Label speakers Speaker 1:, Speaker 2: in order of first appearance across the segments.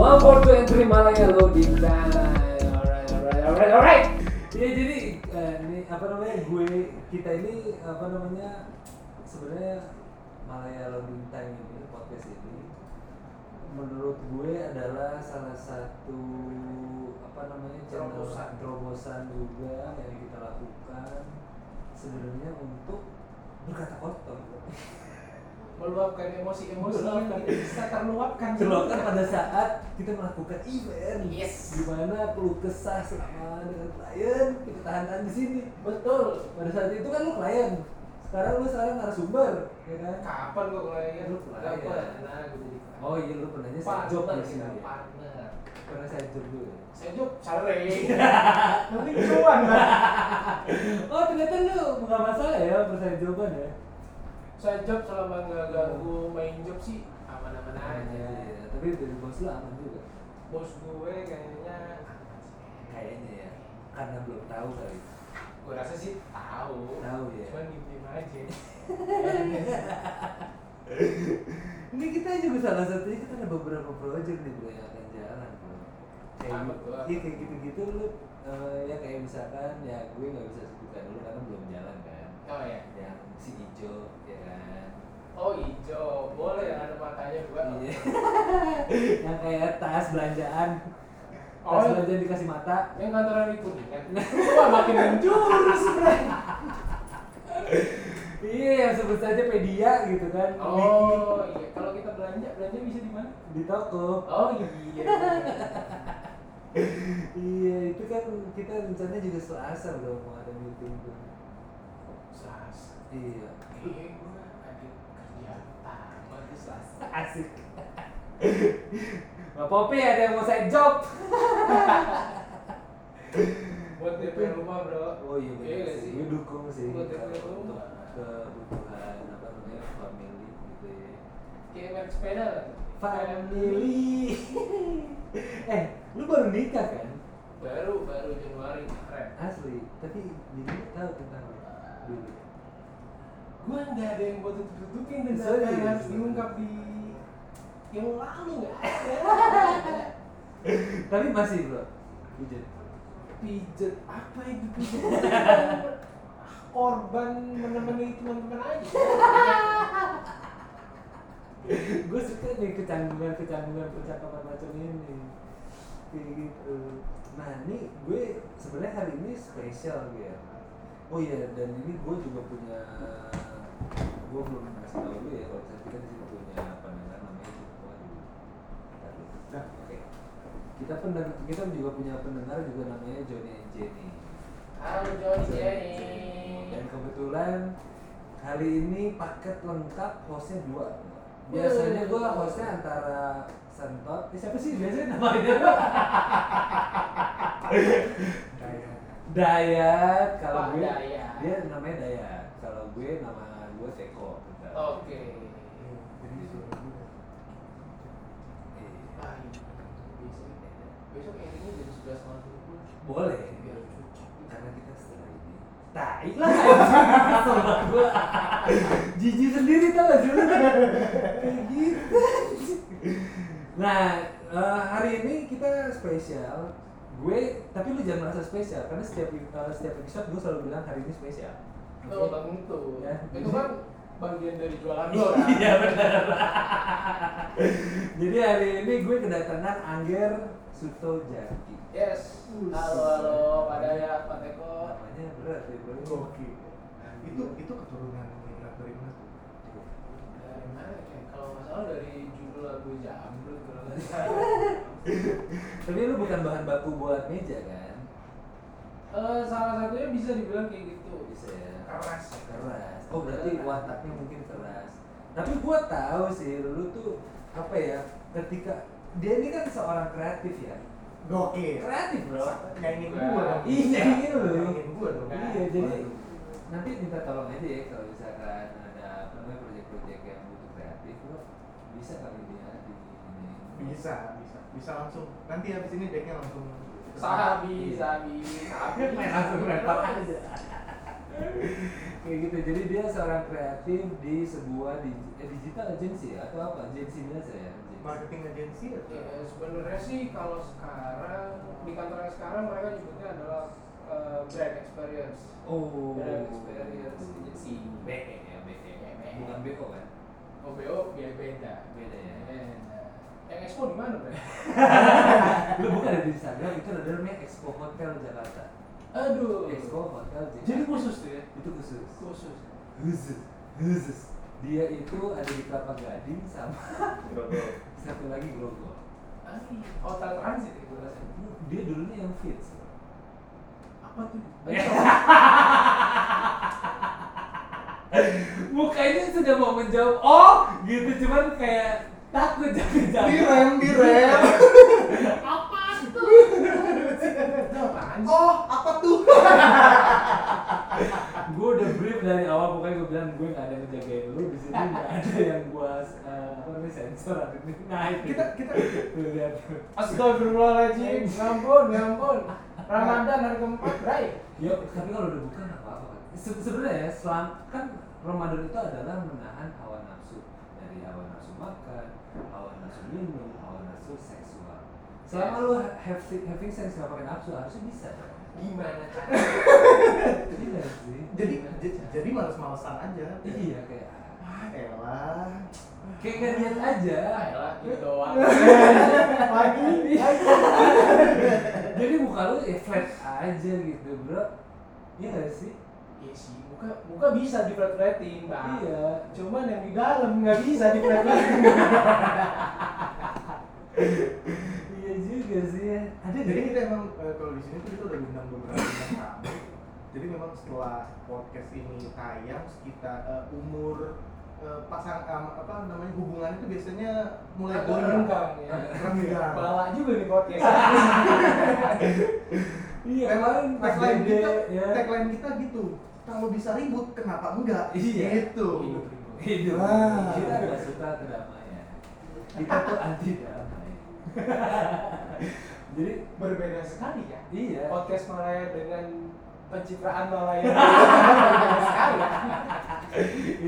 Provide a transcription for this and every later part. Speaker 1: Welcome to entry Malaya Loading Time. Alright, alright, alright, alright. Ya jadi eh, ini apa namanya gue kita ini apa namanya sebenarnya Malaya Loading Time ini podcast ini menurut gue adalah salah satu apa namanya channel-
Speaker 2: Terobosan.
Speaker 1: terobosan juga yang kita lakukan sebenarnya untuk berkata kotor.
Speaker 2: meluapkan emosi-emosi yang
Speaker 1: Meluapkan.
Speaker 2: tidak bisa terluapkan.
Speaker 1: Terluapkan Gitu kan pada saat kita melakukan event.
Speaker 2: Yes.
Speaker 1: Gimana keluh kesah selama dengan klien kita tahan-tahan di sini. Betul. Pada saat itu kan lu klien. Sekarang lu sekarang narasumber, ya kan?
Speaker 2: Kapan gua klien?
Speaker 1: Lu klien.
Speaker 2: Gak pernah Nah, gua jadi klien.
Speaker 1: Oh iya lu pernahnya saya job
Speaker 2: partner
Speaker 1: di sini.
Speaker 2: kita
Speaker 1: ya?
Speaker 2: partner.
Speaker 1: Pernah saya job dulu. ya?
Speaker 2: Saya job sare. Nanti cuan lah.
Speaker 1: Oh ternyata lu nggak masalah ya persaingan jawaban ya.
Speaker 2: Saya job selama nggak ganggu main job sih aman-aman aja.
Speaker 1: Iya, Tapi dari bos lu aman juga.
Speaker 2: Bos gue kayaknya aman sih.
Speaker 1: Kayaknya ya. Karena belum tahu kali.
Speaker 2: gue rasa sih tahu.
Speaker 1: Tahu, ya.
Speaker 2: Cuman diem-diem aja.
Speaker 1: Ini kita juga salah satunya kita ada beberapa project nih bro yang akan jalan bro. Kayak
Speaker 2: Apa
Speaker 1: gitu,
Speaker 2: tuh, apa?
Speaker 1: iya kayak gitu-gitu lu eh, ya kayak misalkan ya gue nggak bisa sebutkan dulu karena belum jalan kan.
Speaker 2: Oh ya.
Speaker 1: Yang si Ijo ya kan.
Speaker 2: Oh hijau, boleh ada matanya gua.
Speaker 1: Iya. yang kayak tas belanjaan. Tas
Speaker 2: Oh.
Speaker 1: belanjaan dikasih mata.
Speaker 2: Yang kantoran di kuningan. kan? Wah makin menjurus, Bray.
Speaker 1: Iya yang sebut saja Pedia gitu kan.
Speaker 2: Oh iya, kalau kita belanja, belanja bisa di mana?
Speaker 1: Di, di toko.
Speaker 2: Oh iya.
Speaker 1: Iya itu kan kita rencananya juga Selasa bro mau ada meeting bro.
Speaker 2: Sas.
Speaker 1: Iya.
Speaker 2: Eh, gua ada kerja tamat di Selasa.
Speaker 1: Asik. Mbak Popi ada yang mau saya job.
Speaker 2: Buat DP rumah, Bro.
Speaker 1: Oh iya benar
Speaker 2: nggak
Speaker 1: sih. Gue dukung sih Iya.
Speaker 2: Buat DP
Speaker 1: kalau untuk
Speaker 2: rumah.
Speaker 1: kebutuhan apa namanya family gitu ya.
Speaker 2: Kayak merek sepeda. kan? nggak tuh?
Speaker 1: Family. eh, lu baru nikah kan?
Speaker 2: Baru baru Januari keren.
Speaker 1: Asli. Tapi bini lu tahu tentang lu dulu.
Speaker 2: Gua nggak ada yang buat tutup tutupin dan
Speaker 1: Serius?
Speaker 2: sekarang harus diungkap di yang lalu nggak ada.
Speaker 1: Tapi masih bro. Hujan.
Speaker 2: Pijet apa itu pijet? Ah, korban menemani teman-teman aja.
Speaker 1: gue suka nih kecanggungan kecanggungan percakapan macam ini kayak gitu nah ini gue sebenarnya hari ini spesial ya oh iya dan ini gue juga punya gue belum kasih tau lu ya kalau misalnya kita di sini punya pandangan namanya Joko dulu Ntar dulu.
Speaker 2: Nah.
Speaker 1: oke kita pendengar kita juga punya pendengar juga namanya Johnny and Jenny
Speaker 2: Halo Johnny Jenny.
Speaker 1: dan kebetulan hari ini paket lengkap hostnya dua
Speaker 2: Hmm.
Speaker 1: biasanya gue hostnya antara sentot eh, siapa sih biasanya namanya Dayat
Speaker 2: Pak
Speaker 1: kalau gue
Speaker 2: Dayat.
Speaker 1: dia namanya Dayat kalau gue nama gue Ceko bentar.
Speaker 2: Oke.
Speaker 1: Eh,
Speaker 2: Ah, iya. Besok besok endingnya jam 11 malam pun
Speaker 1: boleh
Speaker 2: biar cuci.
Speaker 1: karena kita setelah ini tai lah kesel banget gue jijik sendiri tau gak sih lu? kayak gitu nah eh, hari ini kita spesial gue tapi lu jangan merasa spesial karena setiap eh, setiap episode gue selalu bilang hari ini spesial
Speaker 2: Oh, Tuh bang itu.
Speaker 1: Ya.
Speaker 2: Itu kan bagian dari jualan lo. kan?
Speaker 1: Iya benar. Jadi hari ini gue kedatangan Angger Suto Jaki.
Speaker 2: Yes. Halo halo Pak Dayat, Pak Teko.
Speaker 1: Namanya berat ya bro.
Speaker 3: Oke. Itu itu keturunan berat dari mana tuh?
Speaker 2: Dari mana ya? Kalau nggak salah dari judul lagu Jambrut kalau nggak salah.
Speaker 1: Tapi lu bukan bahan baku buat meja kan?
Speaker 2: Eh, salah satunya bisa dibilang kayak gitu.
Speaker 1: Bisa ya.
Speaker 2: Keras.
Speaker 1: Keras. Oh berarti wataknya mungkin keras. Tapi gue tahu sih lu tuh apa ya? Ketika dia ini kan seorang kreatif ya.
Speaker 3: Gokil.
Speaker 1: Kreatif bro.
Speaker 3: Nyanyiin gua dong.
Speaker 1: Iya, nyanyiin lu.
Speaker 3: Nyanyiin gua dong. kan?
Speaker 1: Iya jadi nanti minta tolong aja ya kalau misalkan ada apa namanya proyek-proyek yang butuh kreatif lo bisa kali dia di ini.
Speaker 3: Bisa, bisa. Bisa langsung. Nanti habis ini decknya langsung.
Speaker 2: Sabi, sabi, sabi.
Speaker 3: Main langsung lempar aja.
Speaker 1: kayak gitu jadi dia seorang kreatif di sebuah digi- eh, digital agency ya? atau apa agency biasa ya agency.
Speaker 3: marketing agency atau
Speaker 2: Ya, sebenarnya sih kalau sekarang di kantor yang sekarang mereka nyebutnya adalah eh, brand experience.
Speaker 1: oh
Speaker 2: Brand experience agency.
Speaker 1: BE ya BE bukan BO kan
Speaker 2: OBO biar beda.
Speaker 1: beda ya
Speaker 2: Beda. Yang expo di mana, Bre?
Speaker 1: lu bukan ada di Instagram itu ada namanya Expo Hotel Jakarta
Speaker 2: Aduh.
Speaker 1: Expo Hotel Jakarta
Speaker 2: Jadi khusus tuh ya.
Speaker 1: itu khusus
Speaker 2: Khusus.
Speaker 1: khusus khusus dia itu ada di Kelapa Gading sama
Speaker 3: Grogol.
Speaker 1: satu lagi Grogol
Speaker 2: Asli. Hotel transit itu rasanya.
Speaker 1: dia dulunya yang fit
Speaker 2: Apa tuh?
Speaker 3: Eh,
Speaker 1: mukanya sudah mau menjawab oh gitu cuman kayak takut jangan-jangan
Speaker 3: direm direm
Speaker 2: Apa tuh? Itu apaan sih?
Speaker 3: oh apa tuh
Speaker 1: gue udah brief dari awal pokoknya gue bilang gue gak ada yang ngejagain lu di sini gak ada yang gue eh, apa namanya sensor atau ini nah itu
Speaker 3: kita kita
Speaker 1: Lu lihat
Speaker 2: Astagfirullahaladzim, Eh, ngampun, ngampun. Ramadan hari keempat, Bray.
Speaker 1: ya tapi kalau udah bukan nggak apa-apa kan Se- sebenarnya ya selam kan Ramadan itu adalah menahan hawa nafsu dari hawa nafsu makan hawa nafsu minum hawa nafsu seksual selama lu ha- have, having sex nggak pakai nafsu harusnya bisa dong
Speaker 2: Gimana caranya?
Speaker 1: jadi nggak sih
Speaker 3: jadi j- jadi males-malesan aja
Speaker 1: iya kayak
Speaker 3: ah elah
Speaker 1: kayak nggak niat aja
Speaker 2: Ah, elah, gitu doang.
Speaker 3: lagi
Speaker 1: jadi muka lu ya flat aja gitu bro iya nggak sih
Speaker 2: Iya sih, muka, muka bisa di
Speaker 3: Nah.
Speaker 2: flat-flatin, Bang.
Speaker 1: iya
Speaker 2: Cuman yang di dalam nggak bisa di flat-flatin.
Speaker 1: iya juga sih ya ada
Speaker 3: jadi
Speaker 1: nggak?
Speaker 3: kita emang eh, kalau di sini tuh kita udah undang beberapa bintang tamu jadi memang setelah podcast ini tayang sekitar eh, umur eh, pasang em, apa namanya hubungannya tuh biasanya mulai
Speaker 2: Agak
Speaker 3: goyang
Speaker 2: renggang ya.
Speaker 3: renggang
Speaker 2: Balak juga nih podcast.
Speaker 1: iya kemarin
Speaker 3: Tagline-
Speaker 1: pas
Speaker 3: tagline
Speaker 1: gede,
Speaker 3: kita,
Speaker 1: ya.
Speaker 3: tagline kita gitu. Kalau bisa ribut, kenapa enggak?
Speaker 1: Iya.
Speaker 3: Gitu.
Speaker 2: Hidup, hidup.
Speaker 1: hidup
Speaker 3: Wah.
Speaker 1: kita nggak suka kedamaian kita tuh anti damai jadi
Speaker 2: Berbeda sekali ya.
Speaker 1: iya
Speaker 2: Podcast Malaya dengan pencitraan Malaya. Berbeda sekali ya.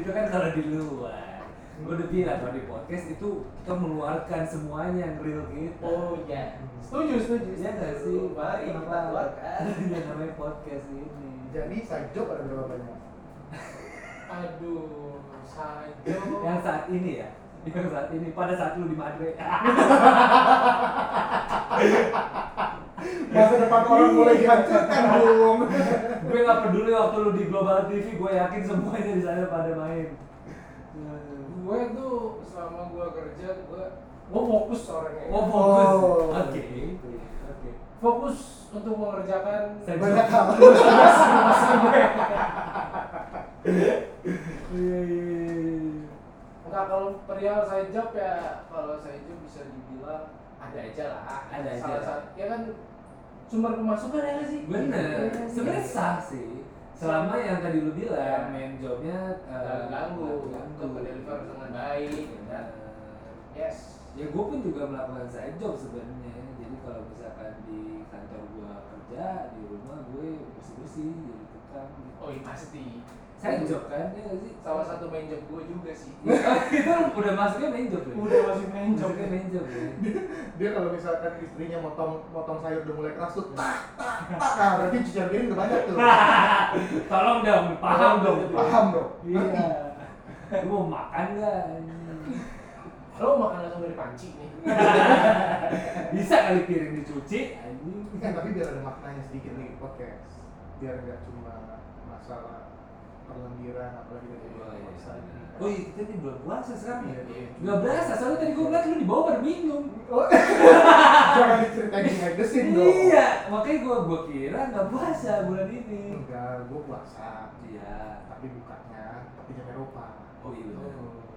Speaker 1: itu kan kalau di luar gue udah bilang kalau di podcast itu kita mengeluarkan semuanya yang real kita
Speaker 2: Oh iya. Setuju, setuju.
Speaker 1: Iya nggak sih Iya,
Speaker 2: Mari kita keluarkan.
Speaker 1: yang namanya podcast ini
Speaker 3: Jadi side job ada berapa banyak?
Speaker 2: Aduh, sajo.
Speaker 1: yang saat ini ya yang saat ini pada saat lu di Madre
Speaker 3: Masa depan orang mulai dihancurkan belum.
Speaker 1: gue nggak peduli waktu lu di Global TV gue yakin semuanya di sana pada main
Speaker 2: Gue tuh selama gue kerja gue gue fokus orangnya.
Speaker 1: oh fokus
Speaker 3: Oh.
Speaker 1: oke oke
Speaker 2: Fokus untuk mengerjakan
Speaker 1: Saya-
Speaker 3: Banyak hal.
Speaker 1: Iya, iya, iya, iya.
Speaker 2: Enggak kalau perihal side job ya kalau side job bisa dibilang ada aja lah.
Speaker 1: Ada aja
Speaker 2: Salah
Speaker 1: lah.
Speaker 2: satu ya kan sumber pemasukan ya nggak sih.
Speaker 1: Bener,
Speaker 2: Iya.
Speaker 1: sebenarnya sah sih. Selama yang tadi lu bilang, main jobnya
Speaker 2: Nggak
Speaker 1: eh,
Speaker 2: ganggu,
Speaker 1: nggak
Speaker 2: untuk deliver dengan baik, ya kan? Yes.
Speaker 1: Ya gue pun juga melakukan side job sebenarnya. Jadi kalau misalkan di kantor gue kerja, di rumah gue bersih bersih, jadi tukang. gitu.
Speaker 2: Oh iya pasti.
Speaker 1: Side job kan, ya nggak sih.
Speaker 2: Salah satu main job gue juga sih.
Speaker 1: Ya, itu udah masuknya main job ya.
Speaker 2: Udah masih main job.
Speaker 1: masuknya main job ya.
Speaker 3: Dia kalau misalkan istrinya motong motong sayur udah mulai kerasut, tak tak tak. Nah, berarti cucian piring udah banyak tuh.
Speaker 1: Tolong dong, paham dong.
Speaker 3: Paham dong.
Speaker 1: Iya. Lu mau makan nggak?
Speaker 2: Lo makan langsung dari panci nih.
Speaker 1: Bisa kali piring dicuci? Anjing.
Speaker 3: Eh, tapi biar ada maknanya sedikit nih podcast. Biar nggak cuma masalah perlendiran apalagi dari
Speaker 1: Oh, iya,
Speaker 3: puasa.
Speaker 1: benar. Oh iya, kita ini bulan puasa sekarang ya?
Speaker 3: Iya.
Speaker 1: Gak berasa, soalnya tadi gue bilang lu di bawah pada minum
Speaker 3: Oh, Jangan diceritain behind the scene dong. Hmm.
Speaker 1: Iya, makanya gue gua kira gak puasa bulan ini
Speaker 3: Enggak, gue puasa.
Speaker 1: Iya
Speaker 3: Tapi bukanya tapi jam Eropa.
Speaker 1: Oh iya bener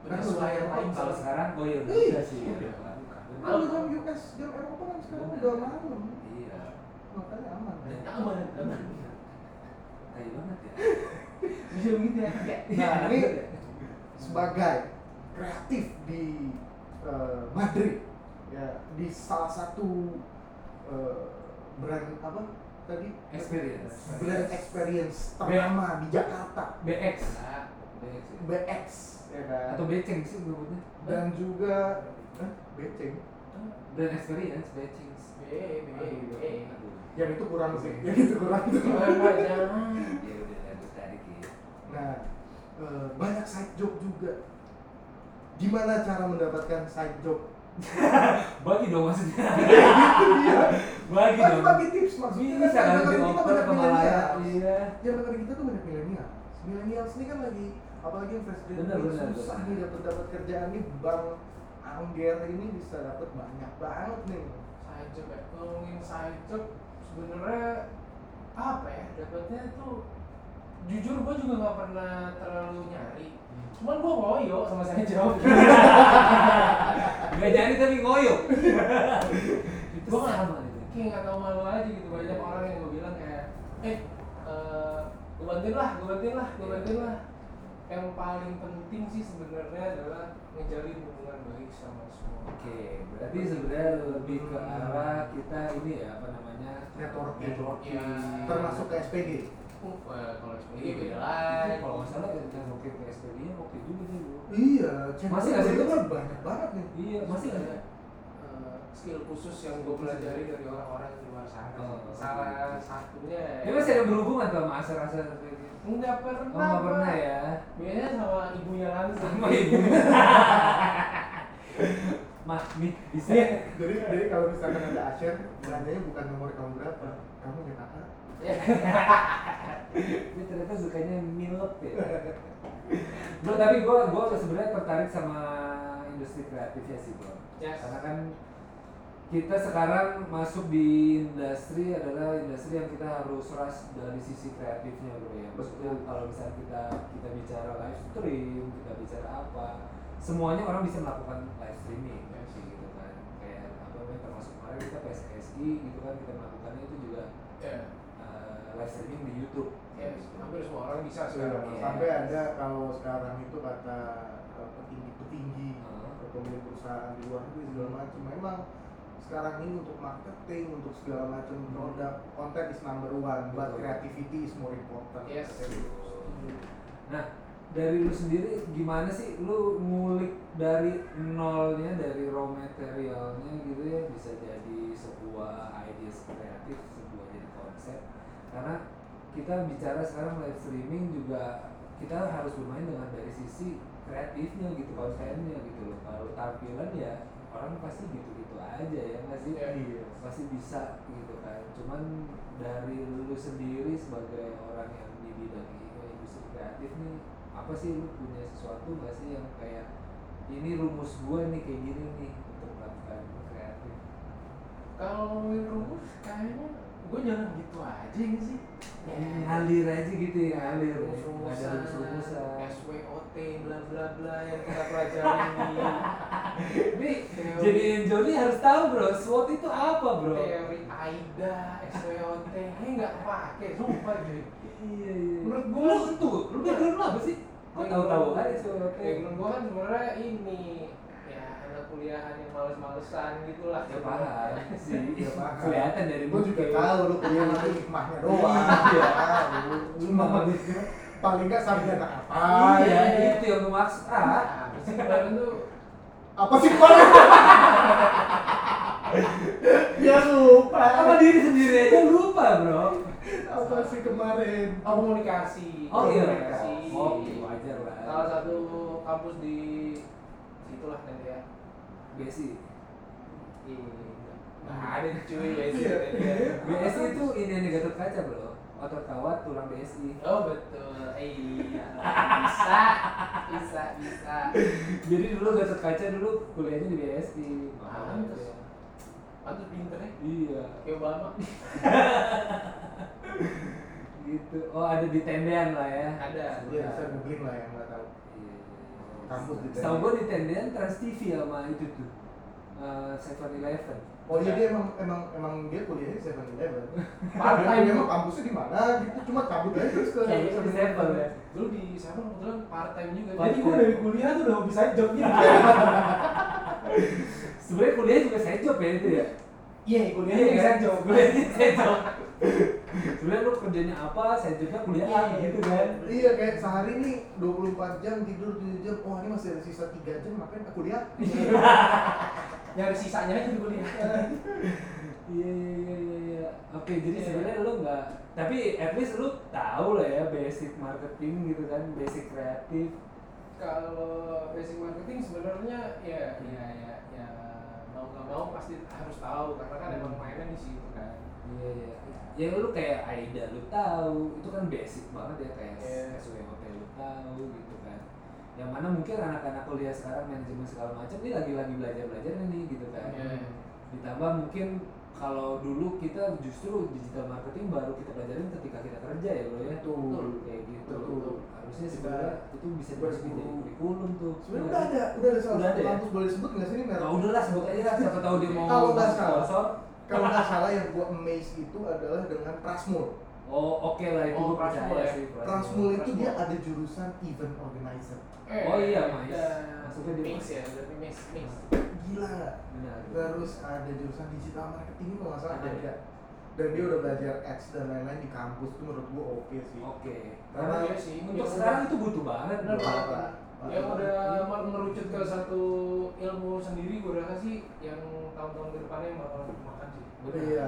Speaker 2: Penyesuaian lain
Speaker 1: Kalau
Speaker 2: salah.
Speaker 1: sekarang, oh iya
Speaker 3: Ih.
Speaker 1: bisa sih
Speaker 3: Hmm. Iya.
Speaker 1: Iya,
Speaker 3: Kalau di dalam US, jam Eropa kan sekarang udah malam.
Speaker 1: Iya.
Speaker 3: Makanya aman. kan?
Speaker 2: Aman, aman.
Speaker 1: Tai banget ya
Speaker 2: Bisa begitu ya. Ya.
Speaker 3: Nah,
Speaker 1: Iya.
Speaker 3: ini sebagai kreatif di eh, Madrid ya di salah satu eh, brand apa tadi
Speaker 1: Experience.
Speaker 3: brand experience ternama di Jakarta
Speaker 1: BX.
Speaker 2: Nah,
Speaker 1: BX.
Speaker 3: BX ya kan
Speaker 1: Atau beceng sih nyebutnya.
Speaker 3: dan juga eh, beceng
Speaker 1: Brand experience beceng.
Speaker 2: B, B, B.
Speaker 3: yang Ya, itu kurang sih yang itu kurang
Speaker 2: Jangan, jangan.
Speaker 1: Ya udah lanjut tadi gitu.
Speaker 3: nah eh, banyak side job juga gimana cara mendapatkan side job
Speaker 1: Bagi dong maksudnya.
Speaker 3: bagi
Speaker 1: Bagi dong.
Speaker 3: bagi tips maksudnya
Speaker 1: Bisa
Speaker 3: kan yang
Speaker 1: kan di
Speaker 3: dengerin kita
Speaker 1: oper
Speaker 3: banyak
Speaker 1: ke Malaya.
Speaker 3: milenial
Speaker 1: Iya.
Speaker 3: yang dengerin kita tuh banyak milenial milenial ini kan lagi apalagi yang fresh
Speaker 1: Benar,
Speaker 3: graduate
Speaker 1: benar,
Speaker 3: susah
Speaker 1: benar.
Speaker 3: nih dapat dapat kerjaan nih bang Angger ini bisa dapat banyak banget nih
Speaker 2: Side job ya. Ngomongin side job sebenarnya apa ya? Dapatnya tuh jujur gue juga nggak pernah terlalu nyari.
Speaker 1: Hmm.
Speaker 2: Cuman gue ngoyo sama side job.
Speaker 1: Gak jadi tapi ngoyo. Itu
Speaker 2: Gua
Speaker 1: sama itu.
Speaker 2: kayak nggak tahu malu aja gitu banyak orang yang gue bilang kayak eh eh, gue bantuin lah gue bantuin lah
Speaker 1: Iya.
Speaker 2: gue bantuin lah yang paling penting sih sebenarnya adalah ngejalin hubungan baik sama semua
Speaker 1: Oke, berarti sebenarnya lebih ke arah kita ini ya apa namanya?
Speaker 3: networking
Speaker 2: Iya.
Speaker 3: termasuk ke SPD
Speaker 2: Uh, eh, kalau SPG beda lagi
Speaker 1: ya. Iya. Kalau nggak salah yang oke ke SPD-nya oke juga sih Bu.
Speaker 3: iya
Speaker 1: Masih nggak sih?
Speaker 3: itu kan banyak banget nih
Speaker 1: Iya, masih ada.
Speaker 2: Eh, skill khusus yang gue pelajari dari orang-orang di luar sana
Speaker 1: Oh.
Speaker 2: salah satunya
Speaker 1: Tapi masih ada berhubungan tuh sama asal-asal seperti itu.
Speaker 2: nggak pernah
Speaker 1: Oh, nggak pernah
Speaker 2: Pak.
Speaker 1: ya.
Speaker 2: biasanya sama ibunya langsung
Speaker 1: Sama ibu. Mak, nih bisa.
Speaker 2: Iya.
Speaker 3: jadi jadi kalau misalkan ada Asher belanjanya bukan nomor kamu berapa kamu nyetak apa?
Speaker 2: Ya,
Speaker 1: Ini ternyata sukanya milk ya. Bro, tapi gue gua sebenarnya tertarik sama industri kreatif ya sih bro.
Speaker 2: Yes.
Speaker 1: Karena kan kita sekarang masuk di industri adalah industri yang kita harus ras dari sisi kreatifnya bro ya. Maksudnya
Speaker 3: Betul.
Speaker 1: kalau misalnya kita kita bicara live stream, kita bicara apa, semuanya orang bisa melakukan live streaming kan sih gitu kan. Kayak apa namanya termasuk kemarin kita PSKSI gitu kan kita melakukannya itu juga
Speaker 2: Ya,
Speaker 1: eh, live streaming di YouTube. kan, gitu.
Speaker 2: ya, hampir semua orang bisa sekarang
Speaker 1: Iya.
Speaker 3: sampai ada kalau sekarang itu kata eh, petinggi-petinggi
Speaker 1: Hmm.
Speaker 3: atau pemilik perusahaan di luar negeri segala macam memang sekarang ini untuk marketing untuk segala macam produk konten is number one but
Speaker 1: Betul.
Speaker 3: creativity is more important
Speaker 2: Yes.
Speaker 1: Iya, Nah, dari lu sendiri gimana sih lu ngulik dari nolnya dari raw materialnya gitu ya bisa jadi sebuah ide kreatif, sebuah jadi konsep. Karena kita bicara sekarang live streaming juga kita harus bermain dengan dari sisi kreatifnya gitu kontennya gitu loh kalau tampilan ya orang pasti gitu-gitu aja ya nggak sih?
Speaker 2: Iya.
Speaker 3: Iya.
Speaker 1: pasti bisa gitu kan cuman dari lu sendiri sebagai orang yang di bidang ini, industri kreatif nih apa sih lu punya sesuatu gak sih yang kayak ini rumus gua nih kayak gini nih untuk melakukan kreatif
Speaker 2: Kalau rumus kayaknya gue jalan gitu aja nggak sih. Ya,
Speaker 1: ngalir aja gitu ya ngalir ya. iya. Nggak ada
Speaker 2: Iya. rumus-rumusan,
Speaker 1: rumus-rumusan
Speaker 2: SWOT, bla bla bla yang kita pelajari ini.
Speaker 1: ini jadi Joni harus tahu bro SWOT itu apa bro
Speaker 2: Teori AIDA, SWOT, ini nggak kepake, sumpah cuy.
Speaker 1: iya iya
Speaker 2: Menurut
Speaker 1: menurut
Speaker 2: gua-
Speaker 1: gua lu tuh lu background lu apa sih kok tahu-tahu aja SWOT
Speaker 2: Background gue kan sebenarnya ini ya anak kuliahan yang males-malesan gitu lah.
Speaker 1: Ya paham sih,
Speaker 3: Ya, paham.
Speaker 1: kelihatan dari
Speaker 3: Gue juga
Speaker 1: muka.
Speaker 3: tahu lu punya mata hikmahnya doang.
Speaker 1: Iya.
Speaker 3: Tahu.
Speaker 1: Cuma
Speaker 3: paling nggak sarjana apa? ya?
Speaker 1: iya, itu yang gue maksud. Ah,
Speaker 2: Nah, habis itu kemarin tuh
Speaker 3: Apa sih kemarin? ya lupa.
Speaker 1: apa diri sendiri aja lupa, Bro.
Speaker 3: Apa sih kemarin?
Speaker 2: oh, komunikasi.
Speaker 1: Oh iya.
Speaker 2: komunikasi.
Speaker 1: Oh, iya, wajar lah.
Speaker 2: salah satu kampus di situlah nanti ya
Speaker 1: BSI.
Speaker 2: Nah, ada nih, cuy BSI
Speaker 3: Iya.
Speaker 2: nanti ya.
Speaker 1: BSI itu ini yang digatot kaca, Bro. Otot kawat, tulang BSI.
Speaker 2: oh betul Eh, iya bisa bisa bisa
Speaker 1: Jadi dulu gatot kaca dulu kuliahnya di BSI.
Speaker 2: Paham, terus?
Speaker 1: Iya.
Speaker 2: pantas pinter ya
Speaker 1: Iya,
Speaker 2: kayak Obama
Speaker 1: gitu. Oh, ada di tendean lah ya.
Speaker 2: Ada.
Speaker 3: Ya bisa googling lah yang nggak tahu. Kampus di
Speaker 1: Tahu gue di tendean Trans TV sama itu tuh. Eh, Seven Eleven.
Speaker 3: Oh iya dia emang emang emang dia kuliahnya di Seven Eleven.
Speaker 2: Part time.
Speaker 3: Dia emang kampusnya di mana gitu cuma cabut aja terus ke
Speaker 1: Kayaknya di Seven Iya, ya.
Speaker 2: dulu di sana kebetulan part time juga
Speaker 1: Part
Speaker 2: jadi gue
Speaker 1: time.
Speaker 2: iya, dari kuliah tuh udah mau bisa jobnya
Speaker 1: Sebenarnya kuliah juga saya job ya itu ya.
Speaker 2: iya kuliahnya
Speaker 1: Iya,
Speaker 2: bisa
Speaker 1: kan?
Speaker 2: job
Speaker 1: Kuliahnya saya job. sebenarnya lu kerjanya apa selanjutnya kuliah apa
Speaker 4: Iya.
Speaker 1: gitu kan
Speaker 3: Iya kayak sehari nih 24 jam tidur 7 jam. Oh, ini masih ada sisa 3 jam ngapain aku kuliah?
Speaker 2: nyari sisanya aja di kuliah
Speaker 1: iya iya iya iya iya oke jadi
Speaker 2: Iya.
Speaker 1: sebenarnya lu nggak tapi at least lu tahu lah ya basic marketing gitu kan basic kreatif
Speaker 2: kalau basic marketing sebenarnya ya ya ya ya mau nggak mau pasti harus tahu karena kan emang mainan di situ kan
Speaker 1: iya iya ya lu kayak Aida lu tahu itu kan basic banget ya kayak
Speaker 2: Iya.
Speaker 1: SWOT lu tahu gitu kan yang mana mungkin anak-anak kuliah sekarang manajemen segala macam ini lagi-lagi belajar-belajar nih gitu kan
Speaker 3: Iya.
Speaker 1: ditambah mungkin kalau dulu kita justru digital marketing baru kita pelajarin ketika kita kerja ya lo ya
Speaker 3: Betul.
Speaker 1: kayak gitu
Speaker 3: Betul, betul.
Speaker 1: harusnya
Speaker 3: Kita
Speaker 1: sebenarnya itu bisa
Speaker 3: berburu.
Speaker 1: dimasukin jadi kurikulum tuh
Speaker 3: Sebenarnya udah ada, udah ada salah
Speaker 1: Udah
Speaker 3: satu
Speaker 1: ada ya?
Speaker 3: kampus boleh disebut nggak sih ini merek?
Speaker 1: nah, udah lah sebut aja lah siapa tahu dia mau
Speaker 3: Kalau nggak salah.
Speaker 1: sponsor
Speaker 3: Kalau nggak salah yang gua amaze itu adalah dengan Prasmul.
Speaker 1: oh oke lah itu
Speaker 2: Oh,
Speaker 1: gue percaya
Speaker 2: Prasmul ya?
Speaker 1: sih Prasmul.
Speaker 3: Prasmul itu
Speaker 2: Prasmul.
Speaker 3: dia ada jurusan event organizer.
Speaker 1: Oh iya, Mais.
Speaker 2: ada-
Speaker 1: Maksudnya dia
Speaker 2: mix
Speaker 1: Mais.
Speaker 2: ya, berarti mix mix.
Speaker 3: Gila nggak?
Speaker 1: benar
Speaker 3: Terus ada jurusan digital marketing kalau nggak salah
Speaker 1: Ada.
Speaker 3: ada. Dan dia udah belajar ads dan lain-lain di kampus itu menurut gua oke sih.
Speaker 1: oke
Speaker 3: Karena
Speaker 1: karena
Speaker 2: Iya sih.
Speaker 1: untuk
Speaker 2: yang
Speaker 1: sekarang itu butuh banget
Speaker 2: Benar,
Speaker 1: Bro.
Speaker 2: Pak. udah- yang udah mer- merucut ke satu ilmu sendiri gue rasa sih yang tahun-tahun ke depannya bakal makan sih. Ya,
Speaker 1: Benar.
Speaker 3: Iya.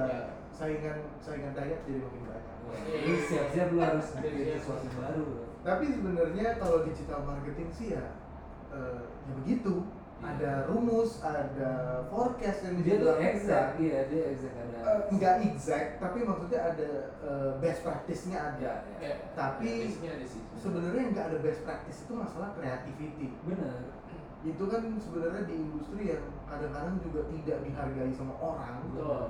Speaker 3: Saingan saingan daya jadi makin banyak.
Speaker 1: Wah, ini Iya. siap-siap lu harus bikin
Speaker 2: Siap-siap.
Speaker 1: sesuatu baru bro.
Speaker 3: Tapi sebenarnya kalau digital marketing sih ya eh, ya begitu.
Speaker 1: Iya.
Speaker 3: Ada rumus, ada forecast yang
Speaker 1: dia tuh
Speaker 3: digital marketing.
Speaker 1: exact iya dia exact ada
Speaker 3: Eh, nggak exact tapi maksudnya ada eh, best practice-nya ada
Speaker 1: ya, ya.
Speaker 2: Ya,
Speaker 3: Tapi,
Speaker 2: ya, mixnya ada
Speaker 1: Iya.
Speaker 2: sih.
Speaker 3: sebenarnya nggak ada best practice itu masalah creativity
Speaker 1: benar
Speaker 3: itu kan sebenarnya di industri yang kadang-kadang juga tidak dihargai sama orang
Speaker 2: Betul.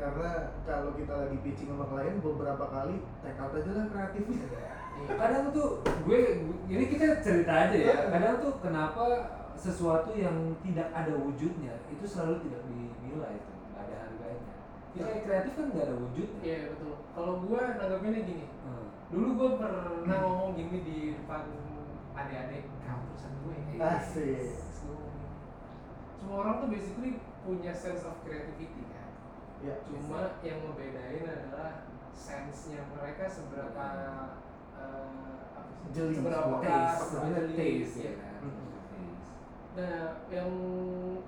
Speaker 3: karena kalau kita lagi pitching sama klien beberapa kali take out aja lah kreatifnya
Speaker 2: Iya.
Speaker 1: kadang tuh gue gue- ini kita cerita aja ya kadang tuh kenapa sesuatu yang tidak ada wujudnya itu selalu tidak dinilai itu nggak ada harganya kita yang kreatif kan nggak ada wujudnya
Speaker 2: Iya betul. Kalau gue nanggapinnya gini,
Speaker 1: Hmm.
Speaker 2: dulu gue pernah ngomong gini di depan adik-adik kampusan gue.
Speaker 3: Ah. Asik.
Speaker 2: Terus gua ngomong, Semua orang tuh basically punya sense of creativity kan.
Speaker 3: ya
Speaker 2: cuma yang ngebedain adalah sense-nya mereka seberapa eh, apa sih?
Speaker 3: Jeli.
Speaker 2: seberapa
Speaker 1: taste
Speaker 2: seberapa
Speaker 1: sebenarnya
Speaker 2: jeli,
Speaker 1: taste ya
Speaker 2: iya.
Speaker 1: kan
Speaker 3: Hmm.
Speaker 1: Taste.
Speaker 2: nah yang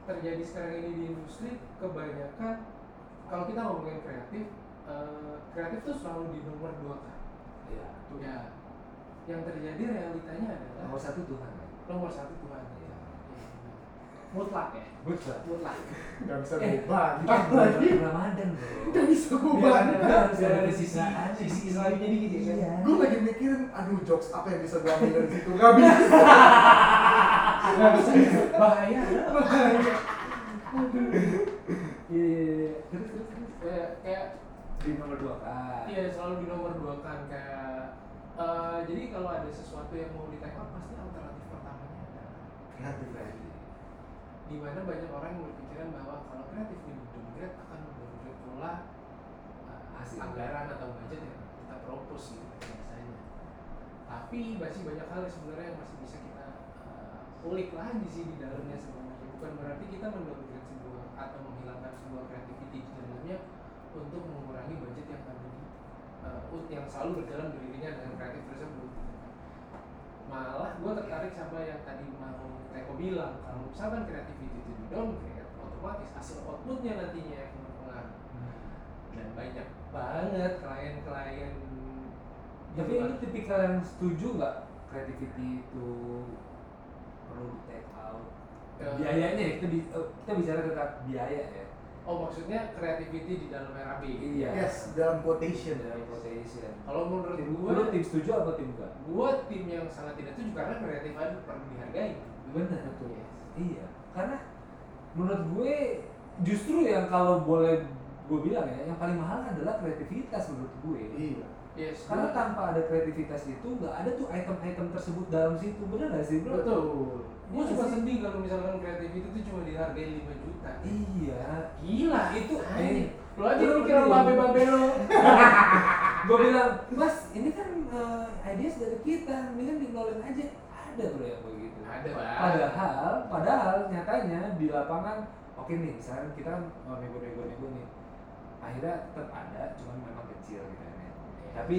Speaker 2: terjadi sekarang ini di industri kebanyakan kalau kita ngomongin kreatif eh, kreatif tuh selalu di nomor dua kan
Speaker 1: Iya.
Speaker 2: ya yang terjadi realitanya adalah
Speaker 1: nomor satu Tuhan kan?
Speaker 2: nomor satu Tuhan
Speaker 1: Iya.
Speaker 2: mutlak ya
Speaker 1: betul
Speaker 2: mutlak
Speaker 3: nggak bisa
Speaker 1: Eh,
Speaker 3: berubah
Speaker 1: Kan
Speaker 3: gitu lagi
Speaker 1: Ramadan
Speaker 3: nggak
Speaker 1: bro
Speaker 3: bisa berubah
Speaker 2: Biar ada-
Speaker 1: harus
Speaker 2: biar
Speaker 1: ada
Speaker 2: ada
Speaker 1: sisi
Speaker 2: sisi lainnya dikit ya kan?
Speaker 1: Iya.
Speaker 3: gue lagi mikirin aduh jokes apa yang bisa gue ambil dari situ nggak bisa
Speaker 2: Nggak bisa bahaya
Speaker 1: Iya, iya, iya. Terus, terus, terus.
Speaker 2: kayak kayak
Speaker 1: di nomor dua kan
Speaker 2: Iya selalu di nomor dua kan kayak eh, jadi kalau ada sesuatu yang mau di take out pasti alternatif pertamanya adalah
Speaker 3: kreatif lagi
Speaker 2: di mana banyak orang yang berpikiran bahwa kalau kreatif di downgrade akan downgrade pula eh,
Speaker 1: Hasil.
Speaker 2: anggaran atau budget yang kita propose gitu kan biasanya. Tapi masih banyak hal yang sebenarnya yang masih bisa kita eh, ulik lagi sih di dalamnya sebenarnya. Bukan berarti kita mendowngrade sebuah atau menghilangkan sebuah kreativiti di dalamnya untuk mengurangi budget yang ada di eh, ut- yang selalu berjalan beriringan dengan kreatif tersebut malah gue tertarik sama yang tadi mau Teko bilang kalau misalkan creativity itu di downgrade otomatis hasil outputnya nantinya yang berpengaruh
Speaker 1: Hmm.
Speaker 2: dan banyak banget klien-klien
Speaker 1: tapi lu tipikal yang setuju nggak creativity itu perlu di take out
Speaker 2: Eh.
Speaker 1: biayanya ya, kita, bi- eh, kita bicara tentang biaya ya
Speaker 2: oh maksudnya creativity di dalam RAB
Speaker 1: iya
Speaker 3: yes dalam quotation
Speaker 1: dari quotation
Speaker 2: kalau menurut
Speaker 1: tim
Speaker 2: gue
Speaker 1: lu tim setuju apa tim enggak
Speaker 2: gue tim yang sangat tidak setuju karena kreatif itu perlu dihargai
Speaker 1: benar betul iya karena menurut gue justru yang kalau boleh gue bilang ya yang paling mahal adalah kreativitas menurut gue
Speaker 3: iya
Speaker 2: yes
Speaker 1: karena tanpa ada kreativitas itu nggak ada tuh item-item tersebut dalam situ bener nggak sih bro?
Speaker 2: betul gue
Speaker 1: Iya
Speaker 2: suka
Speaker 1: sih.
Speaker 2: sedih kalau misalkan kreativity itu cuma dihargai 5 juta
Speaker 1: Iya.
Speaker 2: Gila Nah, itu
Speaker 1: eh,
Speaker 2: Lo aja
Speaker 1: lu
Speaker 2: lu kira
Speaker 1: penting.
Speaker 2: babe-babe lo
Speaker 1: Gue bilang, Mas, ini kan eh, ideas dari kita, ini kan dikeluarin aja. Ada bro yang gitu. begitu.
Speaker 2: Ada lah
Speaker 1: Padahal, padahal nyatanya di lapangan, oke nih, misalnya kita kan, eh, nego-nego-nego nih, akhirnya tetap ada, cuman memang kecil gitu kan ya.
Speaker 2: Iya.
Speaker 1: tapi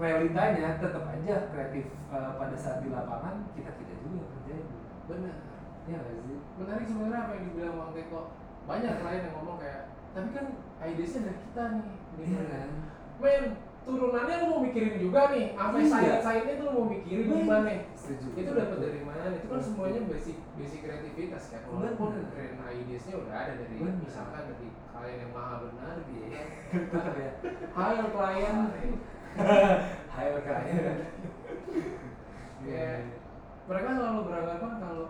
Speaker 1: realitanya tetap aja kreatif eh, pada saat di lapangan kita kita juga yang kerjain
Speaker 2: benar
Speaker 1: ya nggak sih
Speaker 2: menarik sebenarnya apa yang dibilang bang Teko banyak klien yang ngomong kayak tapi kan idenya dari kita nih gitu
Speaker 1: Iya
Speaker 2: kan
Speaker 1: kan?
Speaker 2: men turunannya lu mau mikirin juga nih apa
Speaker 1: Iya.
Speaker 2: sayang sayangnya tuh lu mau mikirin
Speaker 1: Iya.
Speaker 2: gimana
Speaker 1: setuju
Speaker 2: itu dapat dari mana itu kan semuanya basic basic kreativitas kan walaupun
Speaker 1: Benar.
Speaker 2: keren ideasnya udah ada dari
Speaker 1: Benar.
Speaker 2: misalkan dari klien yang maha benar gitu kan
Speaker 1: tetap ya
Speaker 2: hire klien
Speaker 1: Iya. hire kalian
Speaker 2: Iya. mereka selalu beranggapan kalau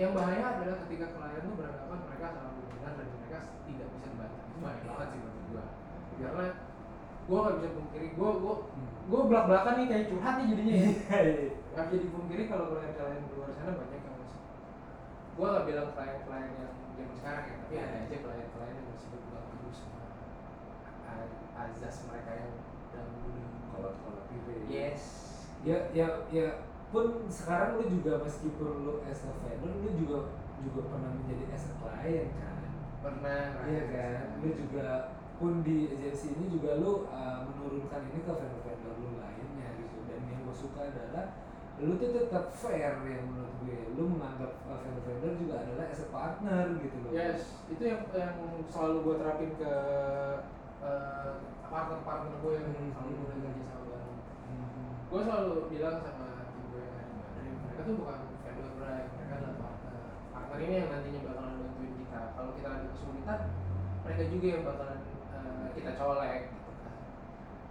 Speaker 2: yang bahaya adalah ketika klien tuh beranggapan mereka selalu benar dan mereka tidak bisa dibantah itu bahaya banget sih menurut gua karena gua nggak bisa pungkiri gua gua
Speaker 1: Hmm.
Speaker 2: gua belak belakan nih kayak curhat nih jadinya ya
Speaker 1: Iya,
Speaker 2: nggak bisa dipungkiri kalau klien kalian keluar sana banyak yang masih gue nggak bilang klien-klien yang zaman sekarang ya
Speaker 1: Iya.
Speaker 2: tapi ada aja klien-klien yang masih berbuat terus sama a- azas mereka yang dahulu
Speaker 1: kolot kolot gitu ya
Speaker 2: yes
Speaker 1: ya ya ya pun sekarang lu juga meskipun lu as a vendor lu juga juga pernah menjadi as a client kan
Speaker 2: pernah
Speaker 1: Iya kan, lu juga pun di agensi ini juga lu uh, menurunkan ini ke vendor-vendor lu lainnya gitu dan yang gue suka adalah lu tuh tetap fair yang menurut gue lu menganggap uh, vendor-vendor juga adalah as a partner gitu loh
Speaker 2: yes itu yang yang selalu gue terapin ke eh, partner-partner gue yang
Speaker 1: Hmm.
Speaker 2: selalu mulai kerja sama bareng
Speaker 1: Hmm.
Speaker 2: gue selalu bilang sama tim gue yang ada di Madrid, mereka tuh bukan vendor brand mereka adalah partner partner ini yang nantinya bakalan bantuin kita kalau kita ada kesulitan mereka juga yang bakalan eh, kita colek gitu kan